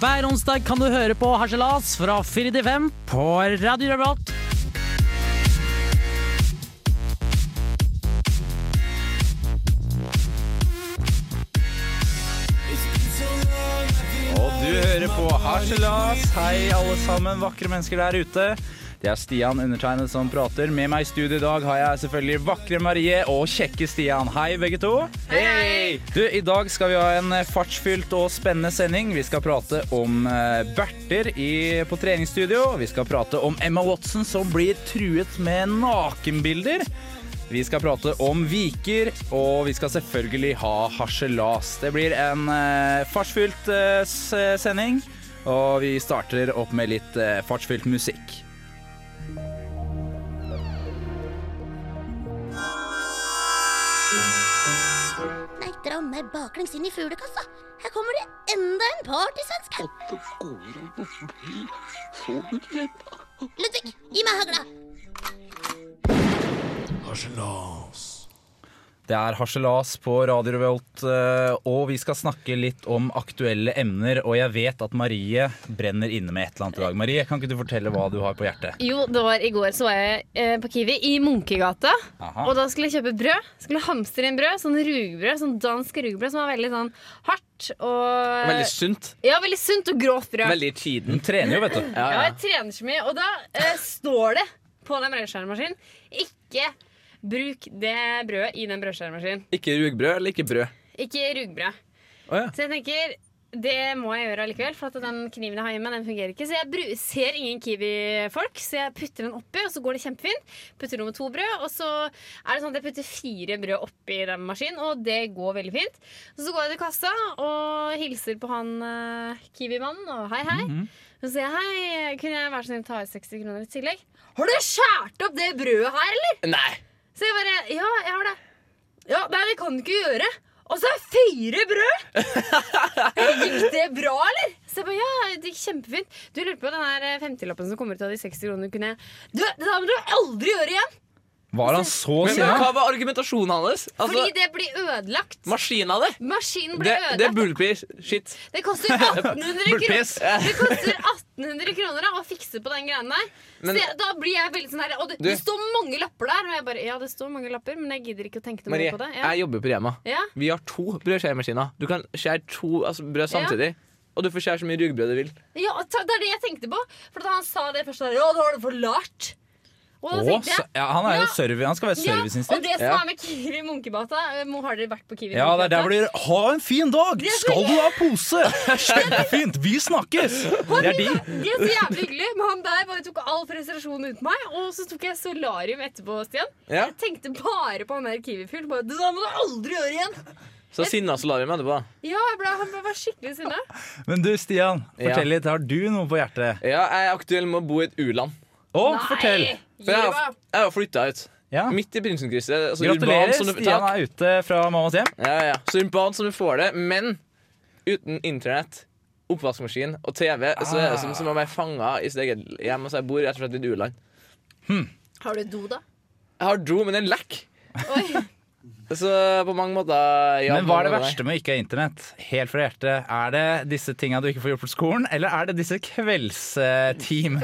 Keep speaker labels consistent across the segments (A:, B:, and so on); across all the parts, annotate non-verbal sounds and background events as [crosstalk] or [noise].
A: Hver onsdag kan du høre på Harselas fra 4 til 5 på Radio Revolt.
B: Og du hører på Harselas. Hei, alle sammen vakre mennesker der ute. Det er Stian undertegnet som prater. Med meg i studio i dag har jeg selvfølgelig vakre Marie og kjekke Stian. Hei, begge to. Hei! Du, I dag skal vi ha en eh, fartsfylt og spennende sending. Vi skal prate om eh, berter i, på treningsstudio. Vi skal prate om Emma Watson som blir truet med nakenbilder. Vi skal prate om viker, og vi skal selvfølgelig ha harselas. Det blir en eh, fartsfylt eh, s- sending, og vi starter opp med litt eh, fartsfylt musikk.
C: Nei, dra meg baklengs inn i fuglekassa. Her kommer det enda en partysvenske. Ludvig, gi meg hagla.
B: Det er harselas på Radio Revolt, eh, og vi skal snakke litt om aktuelle emner. Og jeg vet at Marie brenner inne med et eller annet i dag. Marie, kan ikke du fortelle hva du har på hjertet?
D: Jo, det var i går så var jeg eh, på Kiwi i Munkegata.
B: Aha.
D: Og da skulle jeg kjøpe brød. Skulle hamstre inn brød. Sånn rugbrød, sånn dansk rugbrød som var veldig sånn hardt og
E: Veldig sunt.
D: Ja, veldig sunt og grovt brød.
E: Veldig tiden.
B: Hun trener jo, vet du.
D: Ja, jeg trener så mye. Og da eh, står det på den brødskjæremaskinen ikke bruk det brødet i den brødskjæremaskinen.
E: Ikke rugbrød eller ikke brød.
D: Ikke rugbrød.
E: Å, ja.
D: Så jeg tenker det må jeg gjøre allikevel, for at den kniven jeg har hjemme, den fungerer ikke. Så jeg bru ser ingen Kiwi-folk, så jeg putter den oppi, og så går det kjempefint. Putter nummer to brød, og så er det sånn at jeg putter fire brød oppi den maskinen, og det går veldig fint. Så går jeg til kassa og hilser på han eh, Kiwi-mannen, og hei, hei.
E: Mhm.
D: Så sier jeg hei, kunne jeg være så snill å ta ut 60 kroner i tillegg? Har du skåret opp det brødet her, eller?
E: Nei!
D: Så jeg bare Ja, jeg har det. Ja, Nei, det kan du ikke gjøre. Og så er fire [laughs] brød! Gikk det bra, eller? Så jeg bare, ja, det gikk kjempefint Du lurte på den her 50-lappen som kommer ut av de 60 kronene. Kunne jeg Du, Det der må du aldri gjøre igjen!
B: Var han så
E: Men
B: sinna?
E: hva var argumentasjonen hans? Altså,
D: fordi det blir ødelagt.
E: Maskina di!
D: Maskinen
E: Det,
D: blir
E: det er
D: ødelagt.
E: bullpiss. Shit.
D: Det, [laughs] koster 1800 kroner. [laughs]
E: Bullpiss.
D: Det koster 1800 kroner da, å fikse på den greia der.
E: Men-
D: så jeg, da blir jeg veldig sånn her Og det,
E: Du-
D: det står mange lapper der. Og jeg bare Ja, det står mange lapper, men jeg gidder ikke å tenke noe
E: Marie,
D: mer på det. Ja.
E: jeg jobber på Rema.
D: Ja.
E: Vi har to brødskjæremaskiner. Du kan skjære to altså, brød samtidig. Og du får skjære så mye rugbrød du vil.
D: Ja, ta- det er det jeg tenkte på. For da han sa det først der, Ja, da har du for lart. Og da
B: Å,
D: tenkte
B: så-
D: jeg
B: ja, han, er jo
D: Ja.
B: servi- han skal være
D: ja, og
B: serviceinstinkt.
D: det som
E: Ja.
D: er med Kiwi Munkebata eh, Mo, Har dere vært på Kiwi?
B: Ja, det er der
D: Munkebata?
B: blir Ha en fin dag!
D: er så
B: Skal du ha pose? Kjempefint! Vi snakkes! Det er de.
D: De er så jævlig hyggelige, men han der bare tok all frustrasjon ut meg. Og så tok jeg solarium etterpå, Stian.
E: Ja.
D: Jeg tenkte bare på han der Kiwi-fyren. bare, Det der må du aldri gjøre igjen!
E: Så sinna solarium etterpå. da.
D: Ja, jeg ble, han ble skikkelig sinna.
B: Men du, Stian,
E: Ja.
B: fortell litt. Har du noe på hjertet?
E: Ja, jeg er aktuell med å bo i et u-land.
B: Å,
D: Nei,
B: fortell!
D: Gi
E: For jeg
D: deg
E: har,
D: meg.
E: jeg har flytta ut.
B: Ja.
E: Midt i Prinsenkrysset. Altså,
B: Gratulerer.
E: urban som du-
B: Stian
E: takk.
B: er ute fra mammas hjem.
E: Ja, ja. Så urbant som du får det, men uten internett, oppvaskmaskin og TV, så
B: Ah.
E: er det som, som om jeg er fanga i sitt eget hjem. Altså, jeg bor rett og slett i et u-land.
D: Har du do, da?
E: Jeg har do, men den lekker.
D: Oi. [laughs]
E: Så på mange måter ja,
B: Men
E: på
B: hva er det
E: mange måter.
B: verste med å ikke ha internett? Helt fra hjertet. Er det disse tinga du ikke får gjort på skolen, eller er det disse
E: [laughs]
B: kveldstimene?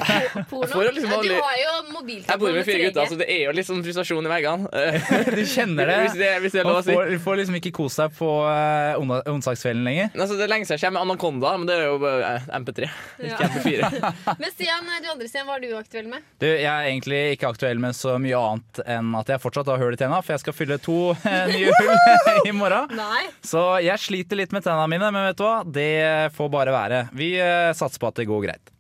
D: Porno?
E: får jo liksom
D: Ja, du
E: aldri-
D: har jo
E: Jeg bor
D: mobiltelefon
E: med
D: med
E: fire
D: 3G.
E: gutter, så det er jo litt sånn frustrasjon i veggene.
B: [laughs]
E: Eh,
B: Du kjenner
E: hvis,
B: det.
E: det, hvis det er lov
B: Man
E: å si.
B: får, du får liksom ikke kost deg på eh, onda- onsdagskvelden lenger.
E: Altså, det er lenge siden jeg kommer med Anakonda, men det er jo bare eh, [laughs] MP3.
D: Ja.
E: Ikke
B: [laughs]
E: MP4.
D: Men Stian, eh, du andre Stian, hva er du aktuell med?
B: Du, Jeg er egentlig ikke aktuell med så mye annet enn at jeg fortsatt har hull i tenna, for jeg skal fylle to eh, nye hull [laughs] i morgen.
D: Nei.
B: Så jeg sliter litt med tennene mine, men vet du hva? Det får bare være. Vi eh, satser på at det går greit.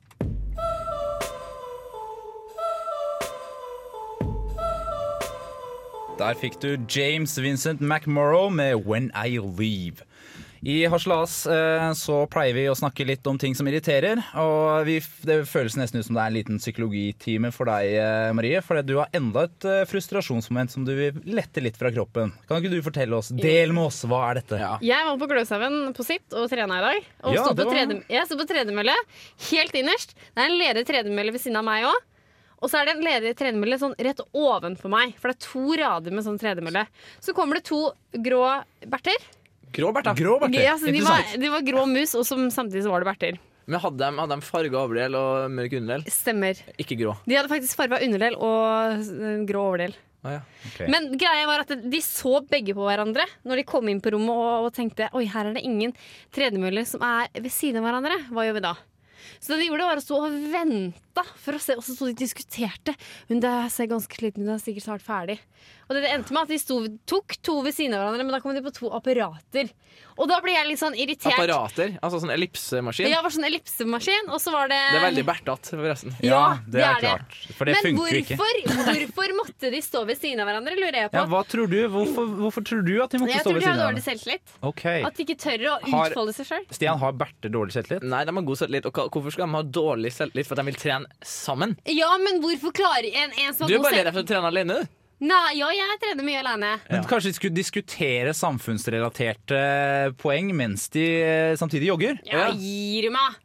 B: Der fikk du James Vincent McMorrow med 'When I Leave'. I Harselas eh, så pleier vi å snakke litt om ting som irriterer. Og vi, det føles nesten ut som det er en liten psykologitime for deg, eh, Marie. For du har enda et eh, frustrasjonsmoment som du vil lette litt fra kroppen. Kan ikke du fortelle oss? Del med oss, hva er dette?
E: Ja.
D: Jeg var på Gløshaugen på sitt og trena i dag. Og
B: Ja,
D: stod
B: det var-
D: på tredje- Jeg sto på tredemølle helt innerst. Det er en ledig tredemølle ved siden av meg òg. Og så er det en ledig tredemølle sånn rett ovenfor meg, for det er to rader med sånn tredemølle. Så kommer det to grå berter.
E: Grå, Bertha.
B: Grå, Berthe.
D: Ja, så de, var,
B: Interessant.
D: de var grå mus, og som, samtidig så var det berter.
E: Men hadde de, hadde de farga overdel og mørk underdel?
D: Stemmer.
E: Ikke grå.
D: De hadde faktisk farga underdel og eh, grå overdel.
E: Ah, ja.
B: Ok.
D: Men greia var at de så begge på hverandre når de kom inn på rommet og, og tenkte Oi, her er det ingen tredemøller som er ved siden av hverandre. Hva gjør vi da? Så det de gjorde, var å stå og vente for å se. Og så sto de og diskuterte. Hun der ser ganske sliten ut, hun er sikkert snart ferdig. Og det, det endte med at de sto, tok to ved siden av hverandre, men da kom de på to apparater. Og da ble jeg litt sånn irritert.
E: Apparater. Altså sånn ellipsemaskin.
D: Ja, det var sånn ellipsemaskin, og så var det
E: Det er veldig Bertat, forresten.
D: Ja,
B: det er klart. For det
D: Men
B: funker jo ikke.
D: hvorfor, hvorfor måtte de stå ved siden av hverandre, lurer jeg på.
B: Ja, hva tror du? Hvorfor, hvorfor tror du at de måtte
D: jeg
B: stå
D: tror
B: ved
D: de har
B: siden av
D: dårlig
B: hverandre?
D: selvtillit.
B: Ok,
D: At de ikke tør å
B: Har-
D: utfolde seg sjøl.
B: Stian, har Berthe dårlig selvtillit?
E: Nei, de har god selvtillit. Og hva- hvorfor skal de ha dårlig selvtillit? For at de vil trene sammen?
D: Ja, men hvorfor klarer en, en som har
E: Du er
D: god
E: bare
D: selv...
E: redd for å trene alene, du.
D: Nei, ja, jeg trener mye alene.
B: Men Kanskje de skulle diskutere samfunnsrelaterte poeng mens de eh, samtidig jogger?
D: Ja,
E: Ja.
D: gir du meg?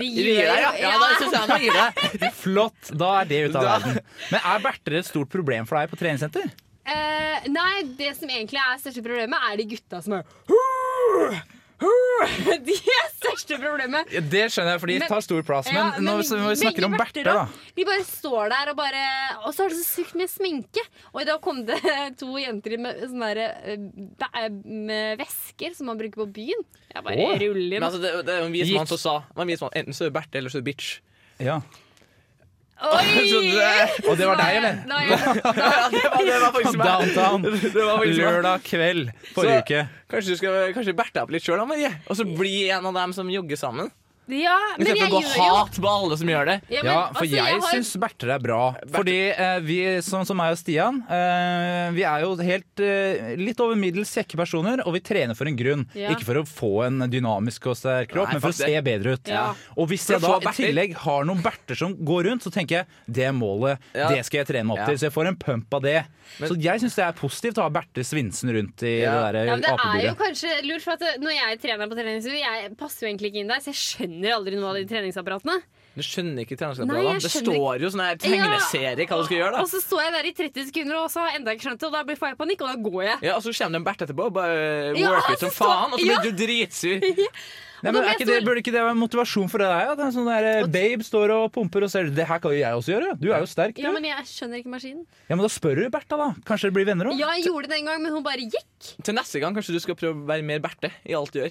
D: De
E: Du gir deg, ja. ja da synes jeg man gir deg.
B: [laughs] Flott! Da er det ute av
E: Da-
B: verden. Men er Berthe et stort problem for deg på treningssenter?
D: [laughs] Eh, nei, det som egentlig er største problemet, er de gutta som er [laughs] De er største problemet.
B: det skjønner jeg, for de
D: Men-
B: tar stor plass.
D: Ja, Berthe, De bare står der og bare Og så har de så sykt mye sminke. Og i dag kom det [laughs] to jenter med sånne der, eh, bæ- med vesker som man bruker på byen. Jeg bare
B: Åh.
D: ruller inn.
E: Men altså, det, det er jo en vis mann som sa det var en vis mann, Enten så er du Berthe, eller så er du bitch.
B: Ja.
E: Så
D: Oi!
E: det,
B: Og det var deg, eller?
D: Nei, jeg-
E: ja, det, var, det var faktisk meg.
B: Downtown.
E: Det var faktisk meg.
B: Lørdag kveld forrige
E: Så-
B: uke.
E: Kanskje du skal kanskje berte opp litt sjøl, Marie? Og så bli en av dem som jogger sammen?
D: Ja, men jeg
E: Istedenfor å gå
D: gjør jo
E: hat på alle som gjør det.
D: Ja, men,
B: Ja, for
D: altså,
B: jeg
D: har-
B: syns Berter er bra. Fordi eh, vi, sånn som meg og Stian, eh, vi er jo helt eh, litt over middels kjekke personer, og vi trener for en grunn.
D: Ja.
B: Ikke for å få en dynamisk og sterk kropp,
E: Nei,
B: men for å
E: faktisk.
B: se bedre ut.
D: Ja.
B: Og hvis
E: For å
B: jeg da
E: få
B: i
E: berter.
B: tillegg har noen berter som går rundt, så tenker jeg det er målet,
E: Ja.
B: det skal jeg trene meg opp til.
E: Ja.
B: Så jeg får en pump av det.
E: Men-
B: så jeg syns det er positivt å ha Berter Svinsen rundt i
E: Ja.
B: det der
D: ja,
B: eh,
D: men det er jo
B: apeburet.
D: kanskje lurt, for at det- når jeg trener på treningsstudio, jeg passer jo egentlig ikke inn der, så jeg skjønner aldri noe av de treningsapparatene.
E: Du skjønner ikke
D: Nei, jeg
E: treningsapparatene. Det
D: skjønner
E: står jo sånn her tegneserie hva du skal gjøre,
D: Og
E: da.
D: så står jeg der i 30 sekunder og så har jeg enda ikke skjønt det, og da blir- får jeg panikk, og da går jeg.
E: Ja, Og så kommer det en Bert etterpå og bare
D: Ja,
E: worker
D: så
E: ut som
D: står-
E: faen, og så blir
D: Ja.
E: du dritsur.
B: Nei, men
D: Og da
B: er
D: blir
B: ikke det,
D: jeg så-
B: burde ikke det være motivasjon for deg? At en sånn der eh, babe står og pumper og ser Det her kan jo jeg også gjøre. Du er jo sterk, du.
D: Ja, men jeg skjønner ikke maskinen.
B: Ja, men da spør du Bertha, da. Kanskje det blir venner òg?
D: Ja, jeg gjorde det en gang, men hun bare gikk.
E: Til neste gang kanskje du skal prøve å være mer Berthe i alt du gjør.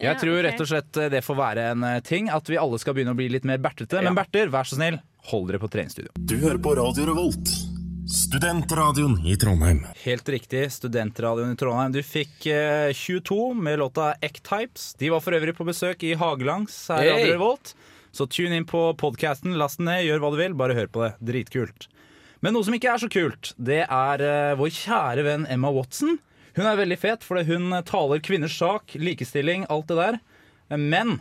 B: Jeg
D: Ja,
B: tror
D: ok.
B: rett og slett det får være en eh, ting at vi alle skal begynne å bli litt mer bertete. Men Berter, vær så snill, hold dere på treningsstudio.
F: Du hører på Radio Revolt, studentradioen i Trondheim.
B: Helt riktig, Studentradioen i Trondheim. Du fikk eh, 22 med låta X-Types. De var for øvrig på besøk i Hagelangs her i
E: Hey!
B: Radio Revolt. Så tune inn på podkasten, last den ned, gjør hva du vil, bare hør på det. Dritkult. Men noe som ikke er så kult, det er eh, vår kjære venn Emma Watson. Hun er veldig fet, fordi hun eh, taler kvinners sak, likestilling, alt det der. Men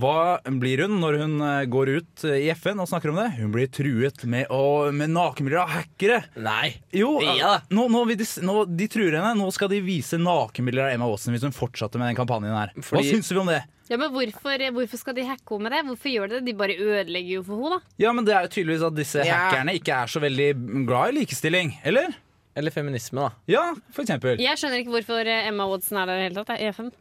B: hva blir hun når hun eh, går ut eh, i FN og snakker om det? Hun blir truet med, å- med nakenbilder av hackere.
E: Nei.
B: Jo, eh,
E: Ja.
B: nå, nå, vil de, s- nå, de truer henne. Nå skal de vise nakenbilder av Emma Watson hvis hun fortsatte med den kampanjen her. Hva
E: Fordi-
B: syns vi om det?
D: Ja, men hvorfor, eh, hvorfor skal de hacke henne med det? Hvorfor gjør de det? De bare ødelegger jo for henne, da.
B: Ja, men Det er jo tydeligvis at disse
E: Ja.
B: hackerne ikke er så veldig glad i likestilling. Eller?
E: Eller feminisme, da.
B: Ja, for eksempel.
D: Jeg skjønner ikke hvorfor eh, Emma Watson er der i det hele tatt. jeg, i FN.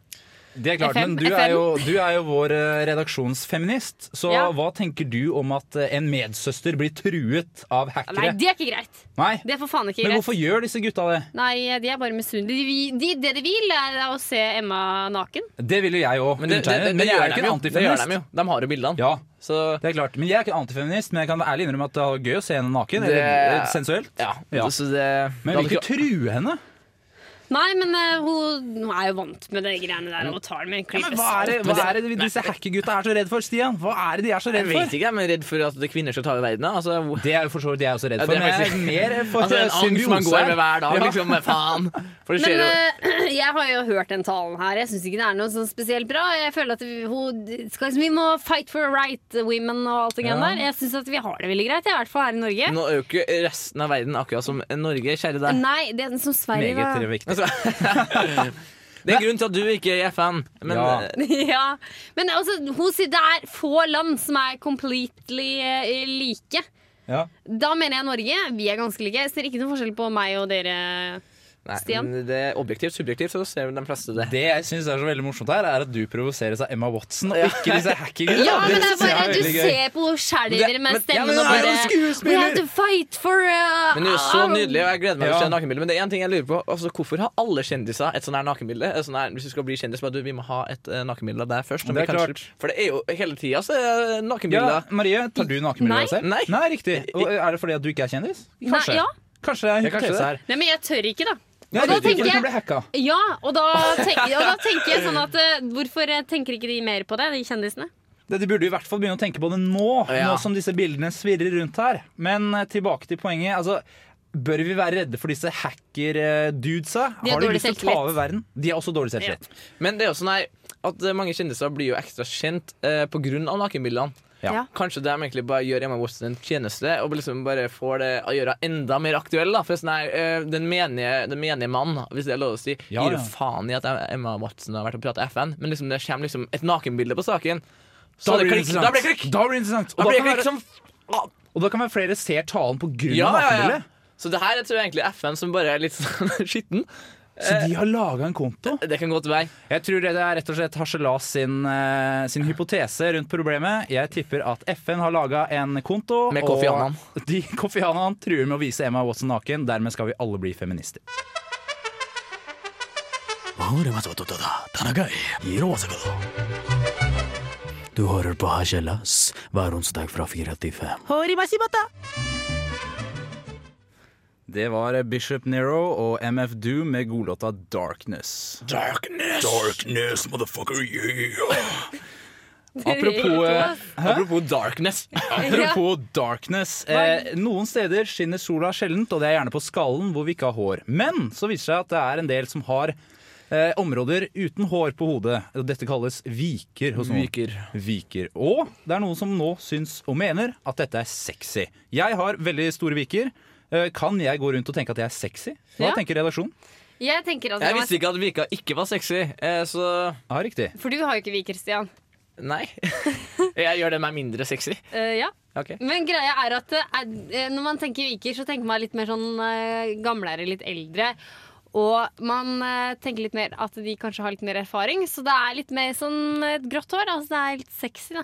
B: Det er klart,
D: FM,
B: men du er, jo, du er jo vår eh, redaksjonsfeminist. Så
D: Ja.
B: hva tenker du om at eh, en medsøster blir truet av
D: Nei,
B: hackere?
D: det er ikke greit.
B: Nei,
D: Det er for faen ikke
B: Men
D: greit.
B: hvorfor gjør disse gutta det?
D: Nei, eh, de er bare misunnelige. De, vi- de, det de vil, er å se Emma naken.
B: Det vil jo jeg òg. Men,
E: Men det, det, det, det,
B: jeg er
E: gjør
B: jo ikke en
E: de jo. det gjør de
B: antifeminist.
E: jo. De har jo bildene.
B: Ja,
E: Så
B: det er klart. Men jeg er ikke en antifeminist, men jeg kan ærlig innrømme at det var gøy å se henne naken.
E: Det-
B: Eller eh, sensuelt.
E: ja.
B: Ja.
E: Så det,
B: Men jeg vil
E: det hadde
B: ikke true henne.
D: Nei, men eh, hun, hun er jo vant med de greiene der og tar det med en klype
B: hva er det,
D: salt.
B: hva er det disse hackergutta er så redd for, Stian? Hva er det de er så
E: Jeg
B: redd
E: vet
B: for?
E: ikke, jeg er redd for at det er kvinner skal ta over verden. da. Altså, hvor-
B: Det er jo for så vidt jeg er også redd
E: Ja,
B: for.
E: det er
B: Men jeg er
E: faktisk-
B: mer for
E: altså, det er en angst man
B: symbiose
E: går
B: her.
E: med hver dag.
B: Ja.
E: Liksom, men [laughs] faen. For det skjer
D: Men
E: jo
D: eh, [clears throat] jeg har jo hørt den talen her. Jeg syns ikke det er noe sånn spesielt bra. Jeg føler at vi, hun, skal, liksom- vi må fight for right women og alt det greiene
B: Ja.
D: der. Jeg syns at vi har det veldig greit, i hvert fall her i Norge.
E: Nå er jo ikke resten av verden akkurat som Norge, kjære [laughs] deg.
D: Nei, det er den som Sverige
B: Meget
D: da.
B: viktig.
E: Altså, det er en grunn til at du ikke er i FN, men
B: Ja.
E: eh,
D: [laughs] ja. Men altså, hun sier det er få land som er completely eh, like.
B: Ja.
D: Da mener jeg Norge. Vi er ganske like. Jeg ser ikke noen forskjell på meg og dere.
E: Nei,
D: Stian?
E: men det er objektivt, subjektivt, så ser de fleste det.
B: Det jeg syns er så veldig morsomt her, er at du provoseres av Emma Watson, og ikke disse hackingene.
D: Ja, men det er
B: synes jeg er
D: bare du
B: veldig gøy.
D: ser på henne
E: Men
D: skjelver
E: det-
D: med
E: men- ja,
D: stemmen
E: men
D: og
E: hun er jo
D: bare
B: skuespiller!
D: We have to fight for uh,
E: Men det er jo så
D: our-"
E: nydelig, og jeg gleder meg til å
B: Ja.
E: se nakenbildet. Men det er en ting jeg lurer på. Altså, hvorfor har alle kjendiser et sånn her nakenbilde? Et sånn her, hvis du skal bli kjendis, bare du, vi må ha et eh, nakenbilde av deg først. om
B: Det er
E: vi kanskje- For det er jo hele tida så er det
B: Ja,
E: nakenbilder.
B: Marie, tar du nakenbilde av deg selv?
E: Nei.
B: Nei, riktig. Og er det fordi at du ikke er kjendis?
D: Nei, ja.
B: Kanskje det er en
E: Ja, kanskje
B: hypotese her.
D: Nei, men jeg tør ikke, da.
B: Ja,
D: da
B: riktig, for
D: tenker
B: du
D: jeg-
B: kan bli hacka.
D: Ja, og da, tenk, og da tenker jeg sånn at eh, Hvorfor eh, tenker ikke de mer på det, de kjendisene?
B: Det, de burde i hvert fall begynne å tenke på det nå,
E: Ja.
B: nå som disse bildene svirrer rundt her. Men eh, tilbake til poenget. altså... Bør vi være redde for disse hacker-dudesa?
D: De
B: Har
D: har
B: de
D: dårlig
B: lyst til å ta
D: selvtillit.
B: over verden? De har også dårlig selvtillit.
E: Men det er jo sånn her at eh, mange kjendiser blir jo ekstra kjent eh, på grunn av nakenbildene.
B: Ja.
D: Ja.
E: Kanskje de egentlig bare gjør Emma Watson en tjeneste og liksom bare får det å gjøre enda mer aktuell. Da. For sånn her, eh, den menige, den menige mann, hvis det er lov å si,
B: Ja, ja.
E: gir jo faen i at Emma Watson har vært og pratet FN, men liksom det kommer liksom et nakenbilde på saken. Så det klikk,
B: sånn
E: da blir det klikk!
B: Da blir det interessant. Og da,
E: Da blir det
B: kan
E: klikk
B: være,
E: som f-
B: og da kan være flere ser talen på grunn av
E: Ja, ja, ja.
B: nakenbildet.
E: Så det her jeg tror jeg egentlig er FN som bare er litt [laughs] sånn skitten.
B: Så
E: Eh,
B: de har laga en konto?
E: Det kan gå til vei.
B: Jeg tror det er rett og slett Harselas sin, eh, sin hypotese rundt problemet. Jeg tipper at FN har laga en konto.
E: Med Kofi Annan.
B: og [laughs] De Kofi Annan truer med å vise Emma Watson naken. Dermed skal vi alle bli feminister.
G: Du hører på Hasjelas hver onsdag fra 4 til 5.
B: Det var Bishop Nero og MF Doom med godlåta 'Darkness'.
F: Darkness, motherfucker,
D: [laughs]
F: yeah!
B: [laughs] Apropos, eh,
E: Apropos darkness.
B: apropos darkness. Eh, noen steder skinner sola sjeldent, og det er gjerne på skallen hvor vi ikke har hår. Men så viser det seg at det er en del som har eh, områder uten hår på hodet. Dette kalles viker hos noen.
E: Viker.
B: viker. Og det er noen som nå syns og mener at dette er sexy. Jeg har veldig store viker. Eh, Kan jeg gå rundt og tenke at jeg er sexy? Hva
D: Ja.
B: tenker redaksjonen?
D: Jeg tenker altså, at
E: Jeg visste ikke at Vika ikke var sexy, eh, så
B: Ja, riktig.
D: For du har jo ikke viker, Stian.
E: Nei. [laughs] Jeg gjør det meg mindre sexy.
D: Eh, ja.
E: Ok.
D: Men greia er at eh, er- eh, når man tenker viker, så tenker man litt mer sånn eh, gamlere, litt eldre. Og man eh, tenker litt mer at de kanskje har litt mer erfaring, så det er litt mer sånn eh, grått hår. Altså det er litt sexy, da.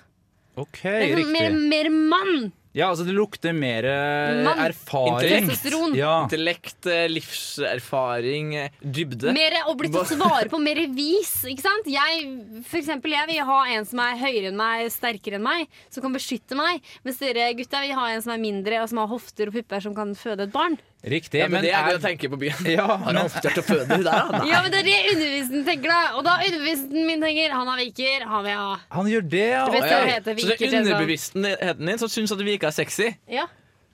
B: Ok,
D: Det er sånn
B: riktig.
D: mer, mer mann!
B: Ja, altså det lukter mer eh,
D: Mann.
B: erfaring.
D: Testosteron.
B: Ja.
E: Intellekt, eh, livserfaring, eh, dybde.
D: Mer å bli til å svare på, mer vis. Ikke sant? Jeg, for eksempel, jeg vil ha en som er høyere enn meg, sterkere enn meg, som kan beskytte meg. Mens dere gutta vil ha en som er mindre, og som har hofter og pupper, som kan føde et barn.
B: Riktig.
E: ja, men det er gøy å
B: er,
E: tenke på [laughs] byen.
B: ja,
E: Har han
B: men,
E: ofte vært og føde der? da? Nei.
D: [laughs] Ja, men det er det undervisningen tenker, da. Og da undervisningen min tenker han har viker, han vil ha.
B: han gjør det, ja.
D: Det beste
E: Ja,
D: å
E: ja.
D: hete
E: Så det
D: viker
E: er
D: til en sånn.
E: underbevisstheten din som syns at Vika er sexy?
D: Ja.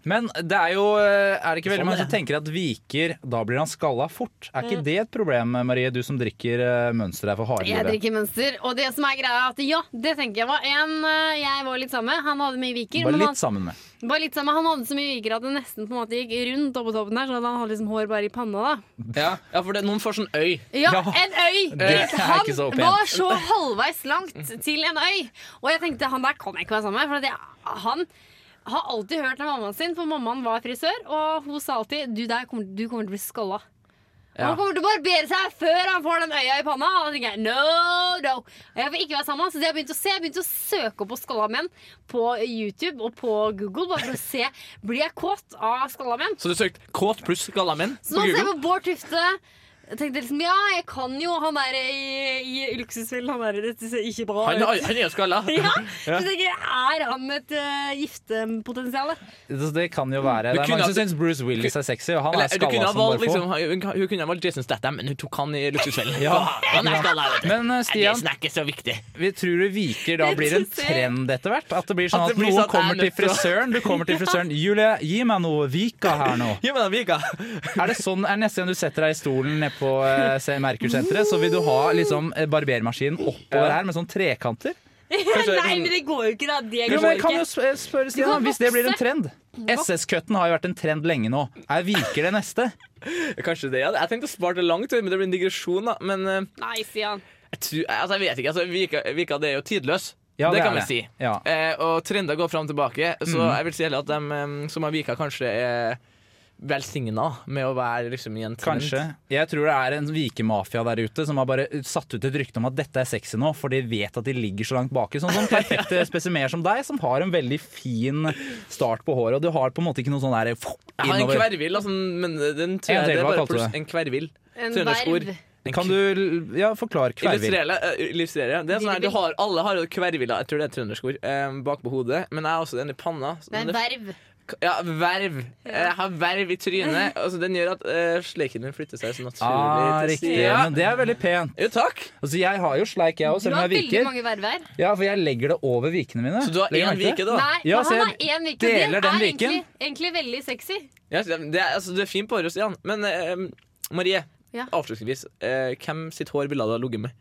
B: Men det er jo eh, Er det ikke veldig
E: Sånn
B: mange
E: det.
B: som tenker at viker, da blir han skalla fort? Er ikke det et problem, Marie, du som drikker eh, mønster her for harde
D: Mm. Jeg
B: livet?
D: drikker mønster. Og det som er greia, er at ja, det tenker jeg var en eh, jeg var litt sammen med. Han hadde mye viker.
B: Bare
D: men han,
B: litt sammen med.
D: bare litt sammen. han hadde så mye viker at det nesten på en måte gikk rundt oppå toppen der, sånn at han hadde liksom hår bare i panna, da.
E: Ja, for det, noen får sånn øy.
D: Ja,
B: Ja.
D: en øy!
B: er ikke
D: han
B: så pent.
D: var så halvveis langt til en øy. Og jeg tenkte han der kan jeg ikke være sammen med. For at jeg, han har alltid hørt av mammaen sin, for mammaen var frisør, og hun sa alltid du, der kommer, du kommer til å bli skalla. Og Han kommer til å barbere seg før han får den øya i panna. Og da tenker jeg, no, no Og Jeg vil ikke være sammen med han, Så det har jeg begynt å se Jeg begynte å søke opp på skalla menn på YouTube og på Google. Bare for å se Blir jeg kåt av skalla menn.
E: Så du søkte kåt pluss skalla menn
D: Så nå
E: på
D: Sånn ser jeg
E: Google?
D: på Bård Tufte. Jeg tenkte liksom, ja, jeg kan jo han der i, i luksusfellen. Han der, dette ser ikke bra
E: Han,
D: ut. [laughs]
E: er- han er jo skalla.
D: Ja, så tenker jeg, Er han et uh, giftepotensial?
B: Det, det kan jo være.
E: Du
B: Det er
E: kunne
B: mange
E: ha-
B: som syns Bruce Willis er sexy, og han
E: Eller,
B: er
E: du kunne
B: skalla
E: ha
B: som
E: valgt,
B: bare
E: liksom,
B: få.
E: hun, hun kunne ha valgt Jason Statham, men hun tok han i luksusfellen.
B: Ja.
E: [laughs] Han er skalla, vet du.
B: Men eh,
E: Nei,
B: Stian,
E: Jason er ikke så viktig.
B: vi tror du viker da blir en trend etter hvert? At det blir sånn
E: At
B: at
E: det blir
B: noen
E: sånn at jeg er
B: kommer til
E: nødt til å-
B: frisøren. Du kommer til
D: [laughs]
B: frisøren. Julie, gi meg noe vika her nå.
E: Gi meg den Vika.
B: Er det sånn, er neste gang du setter deg i stolen nede på eh, se- Merkur-senteret, så vil du ha liksom eh, barbermaskinen oppover her med sånn trekanter?
D: Nei, men det går jo ikke, da. Det
B: Jo,
D: går
B: men jeg kan
D: ikke.
B: jo sp- eh, spørre Stian,
D: Du
B: da,
D: kan
B: hvis det blir en
D: vokse.
B: trend. SS-cutten har jo vært en trend lenge nå. Er viker det neste?
E: Kanskje det, ja. Jeg tenkte å spare det langt, men det blir en digresjon. da Men eh,
D: Nei, Stian.
E: jeg, tror, altså, jeg vet ikke. Altså, Vika, Vika det er jo tidløs.
B: Ja,
E: det,
B: det
E: kan
B: er
E: vi
B: det. Mm.
E: si.
B: Ja.
E: Eh, og trender går fram og tilbake, så jeg vil si heller at de eh, som har Vika, kanskje er velsigna med å være liksom i en trend.
B: Kanskje. Jeg tror det er en vikemafia der ute som har bare satt ut et rykte om at dette er sexy nå, for de vet at de ligger så langt baki. Sånn som
E: [laughs]
B: perfekte spesimerer som deg, som har en veldig fin start på håret. Og du har på en måte ikke noe sånn der fuh,
E: Jeg har en
B: innover.
E: kvervill, altså, men den tror
B: En
E: jeg det
B: til,
E: er
B: hva
E: bare
B: kalte du
E: pluss-
B: det?
E: En kvervill.
D: En
E: Trøndersk ord.
D: verv.
E: En
B: Kan du ja, forklare kvervill?
E: Illustrere, eh, illustrere. Det er sånn her, du har, alle har jo kvervilla, jeg tror det er et trøndersk ord, eh, bak på hodet. Men jeg har også den i panna. så
D: Det er
E: den
D: en
E: er-
D: verv.
E: ja, verv. Jeg har verv i
D: [laughs]
E: trynet. Altså, den gjør at eh, sleiken min flytter seg så naturlig.
B: Ah,
E: til
B: riktig.
E: siden.
B: Men det er veldig pent.
E: Jo, takk.
B: Altså, jeg har jo sleik, jeg òg,
D: Du
B: selv om
D: har
B: jeg
D: veldig
B: virker.
D: mange verver.
B: Ja, for jeg legger det over vikene mine.
E: Så du har
B: Legger
E: én
B: merke til det?
E: vike, da?
D: Nei,
B: Ja,
D: men
B: så jeg
D: han har én vike. Det
B: deler
D: er
B: den
D: egentlig,
B: viken.
D: egentlig veldig sexy.
E: Ja, så det, er, altså, du er fin på håret, Stian. Men eh, Marie,
D: Ja.
E: avslutningsvis. eh, hvem sitt hår ville du ha ligget med?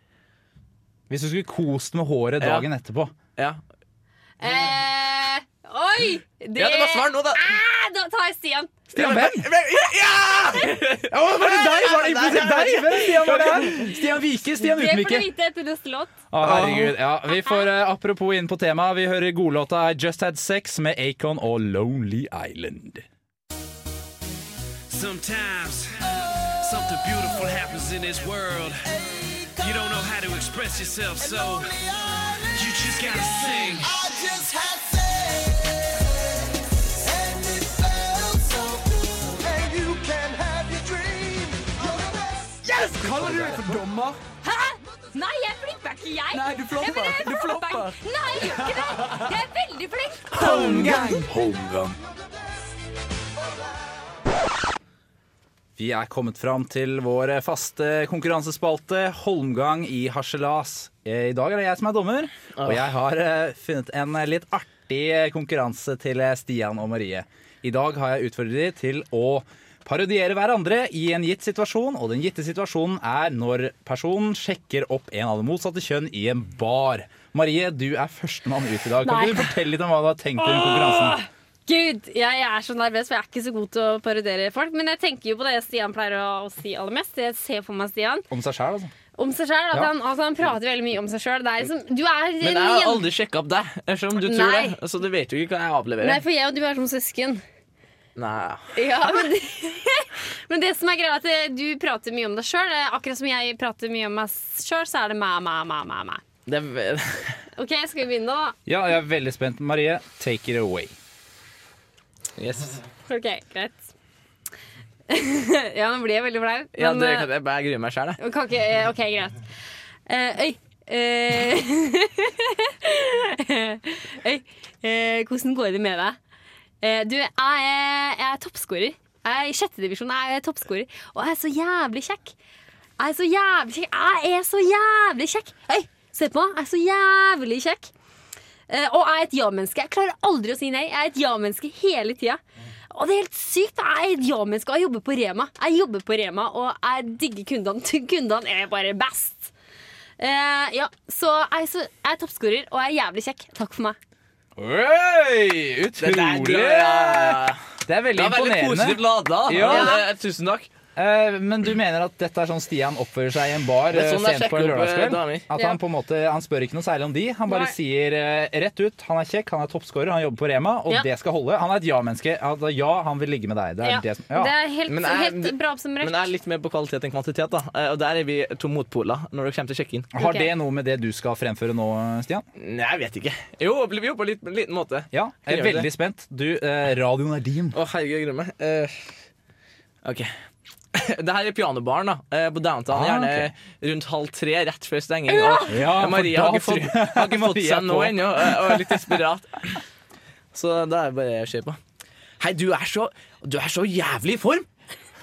B: Hvis du skulle kost med håret
E: Ja.
B: dagen etterpå.
E: Ja.
D: Eh, oi! Det,
E: ja, det var svar nå, da!
D: Nei, Da tar jeg Stian.
B: Stian, hvem? Ja, var det deg? Var det implisert deg? Hvem Stian var det? her? Stian Vike? Stian
D: Det får
B: Utenvike?
D: du vite etter neste låt.
B: Å, herregud. Ja, vi får eh, apropos inn på temaet. Vi hører godlåta I Just Had Sex med Acon og Lonely Island.
H: Sometimes something beautiful happens in this world. You don't know how to express yourself, so you just gotta sing.
D: Hæ? Nei, jeg flipper ikke, jeg.
I: Nei, du flopper.
D: Jeg mener, jeg
I: Du flopper.
D: flopper. Nei, jeg gjør ikke det. Jeg er veldig flink.
G: Holmgang.
B: Vi er kommet fram til vår faste konkurransespalte Holmgang i harselas. Eh, I dag er det jeg som er dommer, og jeg har eh, funnet en eh, litt artig konkurranse til eh, Stian og Marie. I dag har jeg utfordret de til å parodiere hverandre i en gitt situasjon, og den gitte situasjonen er når personen sjekker opp en av det motsatte kjønn i en bar. Marie, du er førstemann ut i dag. Kan
D: Nei.
B: ikke du fortelle litt om hva du har tenkt i den konkurransen?
D: Gud, jeg er så nervøs, for jeg er ikke så god til å parodiere folk. Men jeg tenker jo på det Stian pleier å å si aller mest. Jeg ser for meg Stian
B: Om seg sjæl, altså.
D: om seg sjøl. At
B: Ja.
D: han, altså, han prater veldig mye om seg sjøl. Liksom, du er en
E: Men jeg har
D: jente.
E: aldri sjekka opp deg, selv om du tror
D: Nei.
E: det. Så du vet jo ikke hva jeg avleverer.
D: Nei, for jeg og du er som søsken.
E: Nei.
D: Ja, [laughs] men, det, men det som er greia, er at eh, du prater mye om deg sjøl. Akkurat som jeg prater mye om meg sjøl, så er det meg, meg, meg, meg, meg.
E: Det, er- [laughs]
D: OK, skal vi begynne, da?
B: Ja, jeg er veldig spent. Marie, take it away.
E: yes.
D: Ok, greit. [laughs] ja, nå blir jeg veldig flau.
E: ja,
D: men,
E: det
D: eh,
E: kan jeg, jeg gruer meg sjæl, jeg.
D: Kan ikke eh, OK, greit. Eh, Øy. eh, [laughs] Øy. eh, Hvordan går det med deg? Eh, Du, jeg er, jeg er toppskårer. Jeg er I sjettedivisjon er jeg toppskårer. Og jeg er så jævlig kjekk. Jeg er så jævlig kjekk. Jeg er så jævlig kjekk. Øy, se på meg. Jeg er så jævlig kjekk. Eh, Og jeg er et ja-menneske. Jeg klarer aldri å si nei. Jeg er et ja-menneske hele tida. Og det er helt sykt. Jeg er et ja-menneske, og jeg jobber på Rema. Jeg jobber på Rema, og jeg digger kundene. [laughs] Kundene er bare best. Eh, ja, så jeg, er så jeg er toppskårer, og jeg er jævlig kjekk. Takk for meg.
B: Oi,
E: Det
B: utrolig!
E: der- ja.
B: Det er veldig
E: Det var veldig positivt
B: imponerende.
E: lada.
B: Ja.
E: Eh, Tusen takk.
B: Eh, Men du mener at dette er sånn Stian oppfører seg i en bar
E: Det er
B: eh,
E: sånn jeg
B: sent på en
E: sjekker opp, eh,
B: lørdagskveld?
E: damer.
B: At
D: Ja.
B: han på en måte, han spør ikke noe særlig om de. Han bare
D: Nei.
B: sier eh, rett ut han er kjekk, han er toppskårer, han jobber på Rema, og
D: Ja.
B: det skal holde. Han er et ja-menneske. Altså, ja, han vil ligge med deg. Det er
D: Ja,
B: det som, ja.
D: er helt,
E: Men jeg-
D: helt bra oppsummert.
E: Men jeg er litt mer på kvalitet enn kvantitet, da. Eh, Og der er vi to motpoler når det kommer til sjekking.
B: Har
D: Ok.
B: det noe med det du skal fremføre nå, Stian?
E: Nei, jeg vet ikke. Jo, blir vi jo på en liten, liten måte.
B: Ja, jeg er
E: Gjør det.
B: veldig spent. Du, eh, radioen er din.
E: Å, herregud, jeg gruer meg. Eh, OK. [laughs] Det her er pianobaren da, eh, på downtown.
B: Ah,
E: Gjerne
B: ok.
E: rundt halv tre, rett før stenging. Og
B: Ja, for
E: Maria
B: da
E: har ikke
B: tror
E: fått,
B: jeg-
E: har ikke fått
B: Maria er
E: seg nå
B: på.
E: ennå, eh, og er litt desperat. Så da er det bare å kjøre på. Hei, du er så, du er så jævlig i form!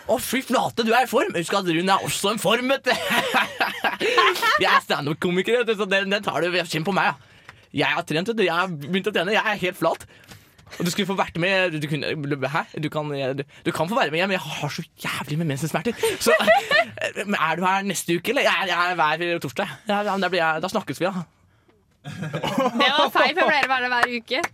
E: Å, fy flate, du er i form! Husk at Rune er også en form, [laughs] vet du. Jeg er standup-komiker, vet du, så den, den tar du. Kjenn på meg, ja. Jeg har trent, vet du. Jeg har begynt å trene. Jeg er helt flat. Og du skulle få vært med Du, kunne, hæ? du, kan, du, du kan få være med hjem, men jeg har så jævlig med mensensmerter. Så [laughs] men er du her neste uke, eller? Jeg er, jeg er hver torsdag. Ja, ja, men da, blir jeg, da snakkes vi, da.
D: Det var feil, for jeg pleier å være det hver uke.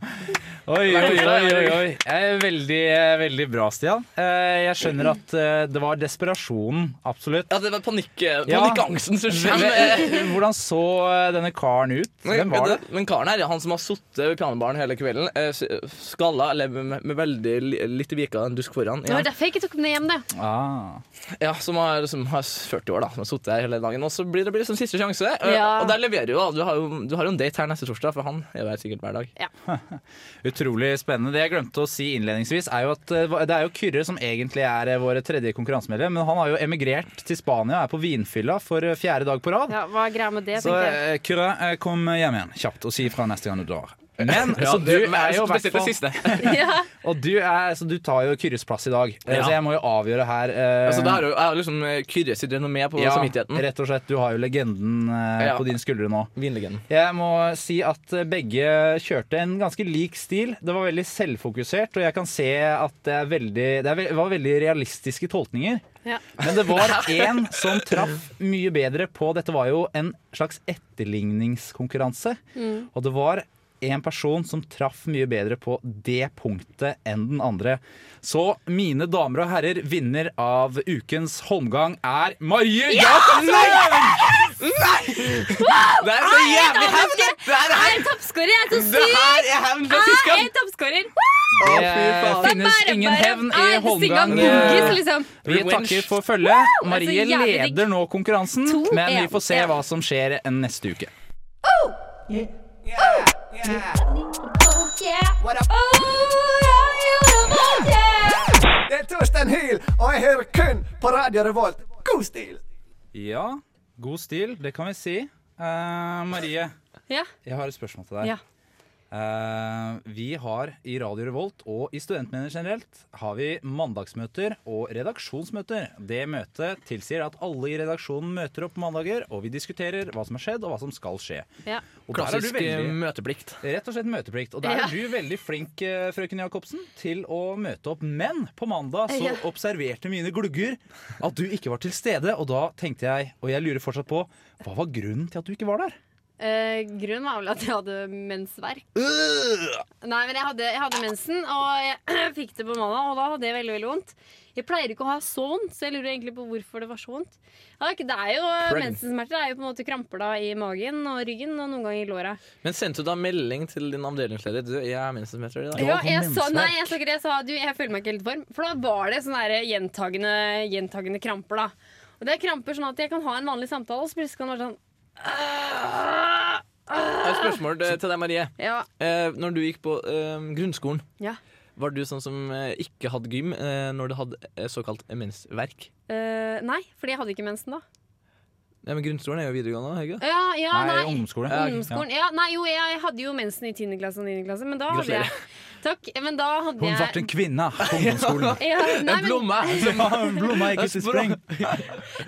B: Oi, oi, oi, oi, oi. Eh, Veldig, eh, veldig bra, Stian. Eh, Jeg skjønner at eh, det var desperasjonen, absolutt.
E: Ja, det var panikk, eh,
B: Ja.
E: panikkangsten som
B: Men,
E: skjer.
B: eh, Hvordan så eh, denne karen ut?
E: Men,
B: Hvem
E: men,
B: var det?
E: det- men karen her, han som har sittet ved pianobaren hele kvelden, eh, s- skalla, eller med, med veldig li- litt vika en dusk foran,
D: Det
E: ja,
D: var derfor jeg ikke tok med hjem, det.
B: Ah.
E: ja, som, har, som har 40 år, da, som har sittet her hele dagen, og så blir det blir liksom siste sjanse. eh,
D: Ja.
E: Og der leverer jo, da. du har jo, du har jo en date her neste torsdag, for han er jo her sikkert hver dag.
B: Utrolig spennende. Det jeg glemte å si innledningsvis, er jo at eh, det er jo Kyrre som egentlig er eh, vår tredje konkurransemedlem, men han har jo emigrert til Spania og er på vinfylla for eh, fjerde dag på rad.
D: Ja, hva er greia med det?
B: Så
D: tenkte jeg.
B: eh, Kyrre, eh, kom hjem igjen kjapt og si ifra neste gang du drar. [laughs] Men så du
E: det- men
B: er jo i hvert
E: spesielt det
B: fall
E: siste.
B: Og du, er, så du tar jo Kyrres plass i dag, Eh,
E: Ja.
B: så jeg må jo avgjøre her. eh,
E: Altså, det har jo, jeg har liksom eh, Kyrre sitt renommé på
B: ja,
E: samvittigheten.
B: rett og slett. Du har jo legenden eh,
E: Ja.
B: på dine skuldre nå.
E: Vinlegenden.
B: Jeg må si at begge kjørte en ganske lik stil. Det var veldig selvfokusert, og jeg kan se at det, er veldig, det er, ve- var veldig realistiske tolkninger.
D: [laughs] Ja.
B: Men det var én som traff mye bedre på Dette var jo en slags etterligningskonkurranse.
D: Mm.
B: Og det var en person som traff mye bedre på det punktet enn den andre. Så mine damer og herrer, vinner av ukens håndgang er Marie
D: altså!
B: Jacobsen!
E: Det er så jævlig heftig! Det her
D: Jeg
E: er-
D: er en toppskårer! Jeg er så
E: det
D: syk!
E: her er hevn fra sist
D: Jeg er
E: gang!
D: en toppskårer!
B: Det finnes
D: Bare,
B: ingen
D: bare,
B: hevn
D: er
B: i
D: det singa
B: håndgang.
D: Bugis, liksom.
B: Vi
E: Revenge.
B: takker for følget. Marie
D: Det er så jævlig digg.
B: leder nå konkurransen,
D: To,
B: men vi
D: en,
B: får se
D: en.
B: hva som skjer en neste uke.
I: Det er Torstein Hyl, og jeg hører kun på Radio Revolt. God stil!
B: Ja, god stil, det kan vi si. Eh, Marie,
D: Ja.
B: jeg har et spørsmål til deg.
D: Ja.
B: Eh, vi har i Radio Revolt og i Studentmedier generelt har vi mandagsmøter og redaksjonsmøter. Det møtet tilsier at alle i redaksjonen møter opp på mandager, og vi diskuterer hva som har skjedd, og hva som skal skje.
D: Ja.
B: Og der er du
E: Klassisk eh,
B: veldig-
E: møteplikt.
B: Rett og slett møteplikt. Og der
D: Ja.
B: er du veldig flink, eh, frøken Jacobsen, til å møte opp. Men på mandag så
D: Ja.
B: observerte mine glugger at du ikke var til stede. Og da tenkte jeg, og jeg lurer fortsatt på, hva var grunnen til at du ikke var der?
D: Eh, grunnen var vel at jeg hadde mensverk.
E: Øh!
D: Nei, men jeg hadde, jeg hadde mensen, og jeg [clears throat] fikk det på mandag, og da hadde jeg veldig veldig vondt. Jeg pleier ikke å ha så vondt, så jeg lurer egentlig på hvorfor det var så vondt. Ja, det er ikke- det er jo Mensensmerter er jo på en måte kramper da i magen og ryggen og noen ganger i låra.
E: Men sendte du da melding til din avdelingsleder? Du, jeg er minstensmeter i dag.
D: Ja,
B: har
D: jeg sa,
B: mensverk.
D: nei, jeg sa ikke det. Jeg sa du, jeg føler meg ikke helt i form. For da var det sånne der gjentagende, gjentagende kramper, da. Og det er kramper sånn at jeg kan ha en vanlig samtale, og så plutselig kan det være sånn
E: Jeg har et spørsmål eh, til deg, Marie.
D: Ja.
E: Eh, når du gikk på eh, grunnskolen,
D: ja.
E: var du sånn som eh, ikke hadde gym eh, når du hadde eh, såkalt mensverk?
D: Eh, nei, fordi jeg hadde ikke mensen da.
E: Ja, men grunnskolen er jo videregående, er det ikke?
D: Ja, ja, nei.
B: i ungdomsskolen.
D: Ungdomsskolen. Ja, nei, jo, jeg hadde jo mensen i 10. klasse og 9. klasse, men da hadde jeg Takk. Men da hadde
B: Hun ble
D: jeg
B: en kvinne på ungdomsskolen.
D: [laughs] ja, nei,
E: En
D: men,
E: blomme!
B: Ja, hun blomma ikke til spreng.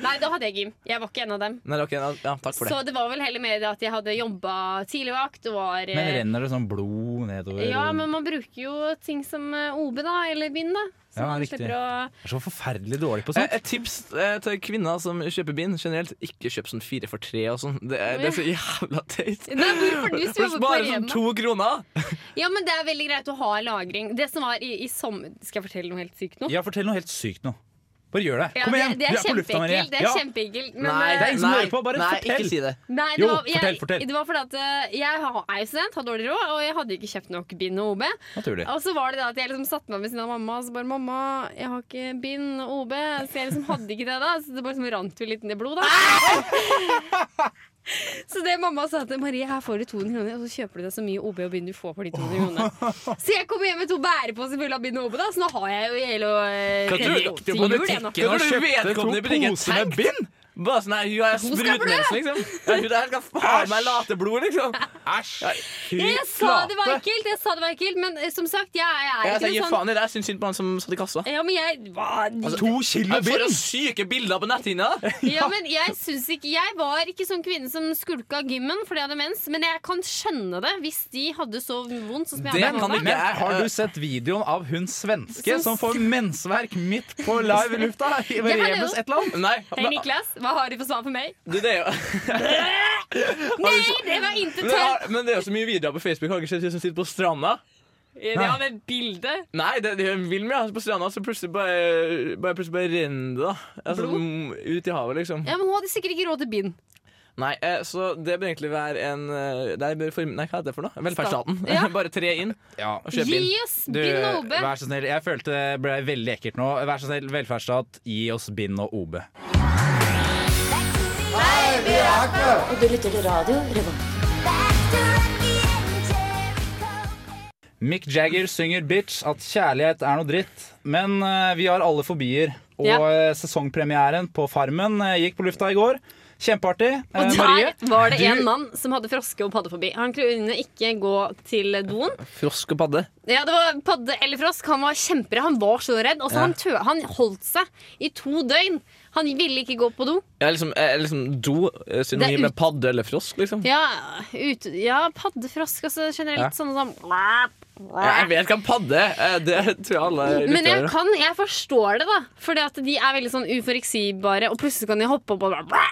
D: nei, da hadde jeg gym. Jeg var ikke en av dem.
E: Nei, ok, ja, ja, takk for det.
D: Så det var vel heller mer det at jeg hadde jobba tidligvakt og var
B: Men
D: eh,
B: renner det sånn blod nedover?
D: Ja, men man bruker jo ting som eh, OB, da, eller bind, da. Så
B: Ja,
D: man
B: riktig.
D: slipper å
B: Jeg er så forferdelig dårlig på
E: Eh,
B: sånt.
E: Et tips eh, til kvinner som kjøper bind generelt, ikke kjøp sånn fire for tre og sånn. Det, er- det er så jævla teit.
D: Nei, hvorfor hvis du
E: For
D: jobber på
E: sparer sånn
D: Rema?
E: to kroner.
D: Ja, men det er veldig greit å ha lagring. Det som var i, i sommer Skal jeg fortelle noe helt sykt nå?
B: Ja, fortell noe helt sykt nå. Bare gjør det.
D: Ja,
B: Kom igjen,
D: det, det
B: du
D: er
B: er på lufta, Marie.
D: kjempeekkelt. Det er
B: Ja.
D: kjempeekkelt. Men
E: Nei,
D: eh,
B: det er ingen som
E: nei,
B: hører på, bare
E: nei,
B: fortell.
E: Ikke si det.
D: Nei, det
B: Jo,
D: var, jeg,
B: fortell, fortell.
D: Det var fordi at eh, jeg har- er jo student, har dårlig råd, og jeg hadde ikke kjøpt nok bind og OB.
B: Naturlig.
D: Og så var det da at jeg liksom satte meg ved siden av mamma og så bare 'Mamma, jeg har ikke bind og OB.' Så jeg liksom hadde ikke det da, så det bare liksom rant jo litt ned blod, da. [laughs] Så det mamma sa til Marie, her får du 200 kroner, og så kjøper du deg så mye OB og bind du får for de 200
E: [laughs]
D: kronene. Så jeg kom hjem med to bæreposer fulle av bind og OB, da, så nå har jeg jo i hele eh,
E: Hva tror du-
D: til jul,
E: på
D: jeg nå.
E: butikken og kjøpte to poser med bind? Bare sånn, nei, hun er
D: skal
E: sprutnes,
D: blø!
E: liksom. Ja, hun der skal faen meg late blod, liksom. Ja, fy
D: Jeg sa det var
E: flate.
D: ekkelt, jeg sa det var ekkelt, men eh, som sagt, jeg, jeg
E: Jeg
D: er ikke
E: tenker,
D: noe sånn
E: faen i det, jeg syns synd på han som satt i kassa.
D: Ja, men jeg sånn- var
B: Altså, To kilo
E: Jeg får jo
B: bind!
E: syke bilder på netthinna.
D: Ja, men jeg, syns ikke, jeg var ikke sånn kvinne som skulka gymmen fordi jeg hadde mens, men jeg kan skjønne det hvis de hadde så vondt. Sånn som jeg
E: Det
D: hadde
E: kan
D: mamma.
E: ikke
B: Men
E: Jeg-
B: har du sett videoen av hun svenske
D: Som-
B: som får mensverk midt
D: [laughs]
B: på live lufta? I
D: [laughs] har jeg
B: Remes et
D: jo.
B: eller annet?
E: Nei,
D: Hei,
E: men,
D: Niklas, hva har du for svar for meg?
E: du, det er jo
D: Nei, det var intet
E: men, det
D: tørt!
E: er- men det er jo så mye videoer på Facebook har dere ikke sett de som sitter på stranda.
D: Ja, med bilde.
E: Nei, det, det vil vi. Altså, på stranda så plutselig bare, bare, plutselig bare renner det. da. Altså,
D: Blod?
E: mm, ut i havet, liksom.
D: Ja, men Hun hadde sikkert ikke råd til bind.
E: Nei, eh, så det bør egentlig være en eh, det er for, Nei, hva heter det for noe? Velferdsstaten.
D: Ja.
E: [laughs] bare tre inn
B: Ja.
E: og kjøp inn.
D: Gi oss
B: Du,
D: bind og OB.
B: vær så snill. Jeg følte det ble veldig ekkelt nå. Vær så snill, velferdsstat, gi oss bind og OB. Mick Jagger synger 'Bitch' at kjærlighet er noe dritt. Men eh, vi har alle fobier. Og
D: Ja.
B: eh, sesongpremieren på Farmen eh, gikk på lufta i går. Kjempeartig. Eh,
D: Og
B: Marie,
D: der var det
B: du-
D: en mann som hadde froske og paddefobi. Han kunne ikke gå til doen.
E: Frosk og padde.
D: Ja, det var padde eller frosk. Han var kjempere. Han var så redd. Altså, han, tø han holdt seg i to døgn. Han ville ikke gå på do.
E: Ja, liksom, eh, liksom do eh,
D: Det er
E: synonym
D: ut-
E: med padde eller frosk, liksom.
D: Ja, ut ja paddefrosk. Altså generelt sånne
E: Ja,
D: som
E: Jeg vet hva en padde er. Eh, Det [laughs] tror jeg alle
D: Men jeg
E: lytter
D: kan, jeg forstår det, da. Fordi at de er veldig sånn uforutsigbare, og plutselig kan de hoppe opp og bare blæ!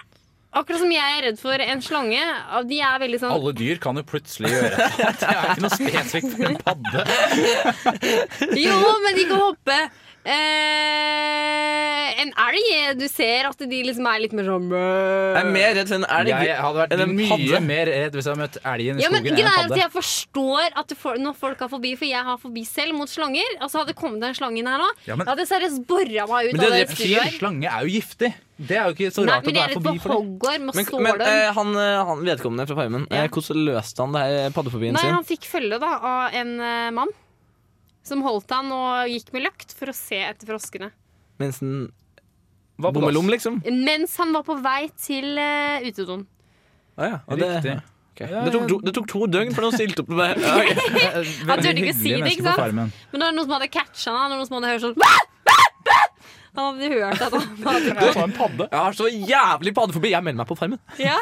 D: Akkurat som jeg er redd for en slange. og De er veldig sånn
B: Alle dyr kan jo plutselig gjøre det. Det er ikke noe spesifikt for en padde.
D: Jo, men de kan hoppe. Eh, en elg Du ser at de liksom er litt mer sånn blæ.
E: Jeg er mer redd for en elg
B: Jeg hadde vært
E: enn en
B: mye
E: padde.
B: mer redd hvis jeg hadde møtt elgen i
D: Ja, men
B: skogen enn
D: greia er
B: en
D: at
B: padde.
D: Jeg forstår at for, når folk har fobi, for jeg har fobi selv mot slanger. Altså Hadde det kommet en slange inn her nå,
B: Ja, men-
D: jeg hadde seriøst bora meg ut
E: Men
D: av
E: det
D: det
E: dreper
D: studioet. her.
B: Slange er jo giftig. Det er jo ikke så
D: Nei,
B: rart at
D: men
B: det
D: jeg er
B: er
D: redd
B: forbi for
D: for
B: det.
D: hoggorm og
E: Men, men
D: stålorm.
E: eh, han, eh, han vedkommende fra Farmen, eh,
D: Ja.
E: hvordan løste han det her paddefobien
D: Nei,
E: sin?
D: han fikk følge da av en eh, mann som holdt han og gikk med løkt for å se etter froskene.
E: Mens han
B: Hva på dass?
E: bommelom, liksom?
D: Mens han var på vei til eh, utedoen.
E: Ah, ja. Og det,
B: Riktig.
E: ok. det, tok to, det tok to døgn før han stilte opp.
D: [laughs]
E: Med. Ok.
D: Han turte
B: hyggelige
D: ikke si det, ikke
B: mennesker på
D: sant?
B: Farmen.
D: Men det var noen som hadde catcha han, og noen som hadde hørt sånn «Bæ! Bæ! Bæ!» Han hadde hørt at han hadde
E: Jeg har så jævlig paddefobi! Jeg melder meg på Farmen.
D: ja.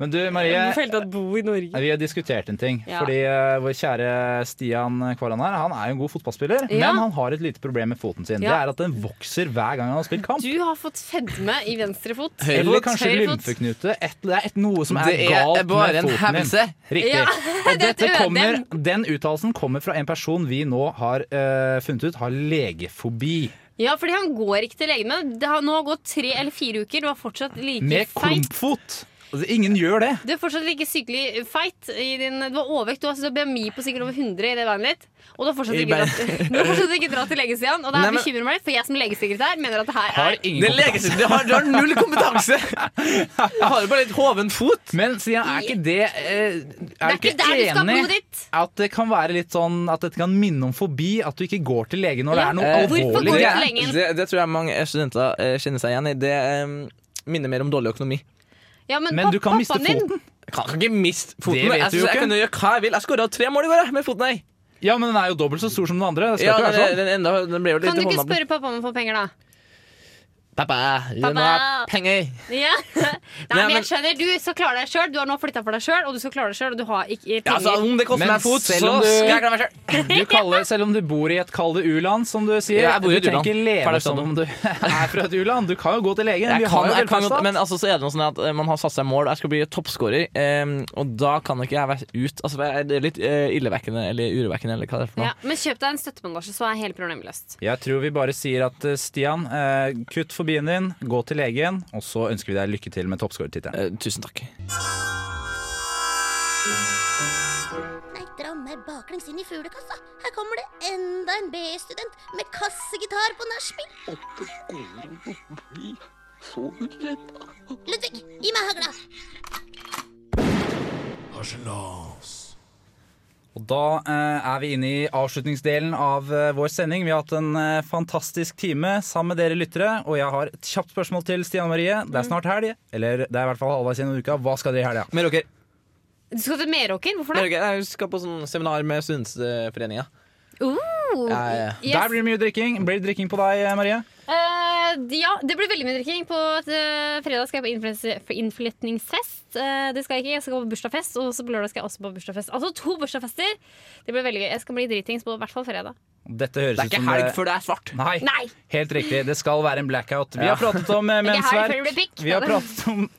B: Men du,
D: Jeg
B: Marie.
D: følte at bo i Norge.
B: Vi har diskutert en ting.
D: Ja.
B: Fordi eh, Vår kjære Stian Kvaran her, han er jo en god fotballspiller,
D: Ja.
B: men han har et lite problem med foten sin. Det
D: Ja.
B: er at den vokser hver gang han har spilt kamp.
D: Du har fått fedme i venstre fot.
B: Eller kanskje
D: Høyre fot.
B: lymfeknute. Et, det er et, noe som er, galt med foten din. Riktig.
D: Ja,
B: Og
D: det
B: dette
D: tror jeg
B: kommer, den uttalelsen kommer fra en person vi nå har eh, funnet ut har legefobi.
D: Ja, fordi han går ikke til legen. Men det har nå gått tre eller fire uker, du er fortsatt like
B: Med
D: feit.
B: klumpfot! Altså, ingen gjør det.
D: Du er fortsatt like sykelig feit. i din- Du har overvekt, du har altså BMI på sikkert over 100 i det vannet ditt. Og du har fortsatt
E: I
D: ikke dratt, [laughs] du har fortsatt ikke dratt til legen, Stian. Og det
E: Nei,
D: her
E: men-
D: bekymrer meg litt, for jeg som legesekretær mener at det her
B: Har
D: er
B: ingen
E: Det leges ikke. Du har, du har null kompetanse! Jeg har jo bare litt hoven fot.
B: Men Stian, er ikke det eh,
D: Det
B: Er du
D: er ikke der du skal ha
B: enig
D: blodet ditt!
B: at det kan være litt sånn At dette kan minne om fobi? At du ikke går til lege når det
D: Ja,
B: er noe
E: eh,
D: hvorfor
B: alvorlig
D: går du-
B: gærent?
D: til legen.
E: det, det tror jeg mange eh, studenter eh, kjenner seg igjen i. Det eh, minner mer om dårlig økonomi.
D: Ja, men,
B: Men
D: pap-
B: du kan miste
D: pappaen din-
B: foten.
E: Jeg kan ikke miste foten.
B: Det vet du
E: Jeg, synes
B: jo
E: jeg
B: ikke.
E: kan gjøre hva jeg vil. Jeg skåra tre mål i går jeg, med foten. Jeg.
B: Ja, men den er jo dobbelt så stor som den andre. Det skal
E: Ja,
B: ikke
E: den,
B: være sånn.
E: den, enda, den ble jo litt
D: Kan du ikke
E: håndabel.
D: spørre pappa om å få penger, da? [laughs]
E: Pappa, gi
D: Pappa.
E: meg penger.
D: Ja. Nei,
E: Nei,
D: men
E: men-
D: jeg skjønner, Du skal klare deg sjøl. Du har nå flytta for deg sjøl, og du skal klare deg sjøl. Og du har ikke
E: Ja, altså,
D: penger.
E: om det koster
B: Men
E: meg en fot, så
B: selv om du-
E: skal jeg klare meg sjøl.
B: Du kaller, selv om du bor i et kall det u-land, som du sier.
E: Ja, jeg bor i et
B: du trenger
E: u-land.
B: ikke leve
E: Ferdig
B: som
E: sånn.
B: om du [laughs] er fra et u-land. Du kan jo gå til legen.
E: Jeg
B: Vi har
E: kan,
B: jo
E: jeg kan,
B: velferdsstat.
E: men altså, så er det noe sånn at eh, man har satt seg mål. Jeg skal bli toppskårer, eh, og da kan ikke jeg være ut altså, for jeg- Det er litt eh, illevekkende eller urovekkende, eller hva det er for noe.
D: ja, men kjøp deg en støttebandasje, så er hele problemet løst.
B: Jeg tror vi bare sier at eh, Stian, eh, kutt fobien din, gå til legen, og så ønsker vi deg lykke til med toppskårertittelen.
E: Eh, tusen takk.
C: Nei, dra meg baklengs inn i fuglekassa. Her kommer det enda en BI-student med kassegitar på nachspiel. Ludvig, gi meg hagla.
B: Og da eh, er vi inne i avslutningsdelen av eh, vår sending. Vi har hatt en eh, fantastisk time sammen med dere lyttere, og jeg har et kjapt spørsmål til Stian Marie. Det er snart helg, eller det er i hvert fall halvveis gjennom uka. Hva skal dere i helga?
E: Men dere,
D: Du skal til Meråker? Hvorfor det?
E: dere, jeg skal på sånn seminar med Studentforeninga.
D: Uh,
E: Ja, ja.
D: yes.
B: Der blir det mye drikking. Blir det drikking på deg, eh, Marie?
D: Eh, ja, det blir veldig mye drikking. På eh, fredag skal jeg på innflytnings- for innflytningsfest. Eh, det skal jeg ikke. Jeg skal på bursdagsfest, og så på lørdag skal jeg også på bursdagsfest. Altså to bursdagsfester! Det blir veldig gøy. Jeg skal bli dritings på i hvert fall fredag.
B: Dette høres
E: Det
B: ut
E: er ikke
B: som
E: helg før det er svart.
B: Nei.
D: Nei!
B: [laughs] Helt riktig. Det skal være en blackout. Vi har pratet om eh,
D: Ikke helg før det
B: mensverk.
D: blir pikk.
B: Vi har pratet om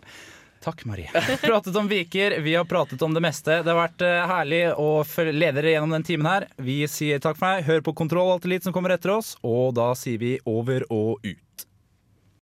B: Takk, Marie. Pratet om viker, vi har pratet om det meste. Det har vært eh, herlig å følge- lede dere gjennom den timen her. Vi sier takk for meg. Hør på Kontroll alltid litt som kommer etter oss, og da sier vi over og ut.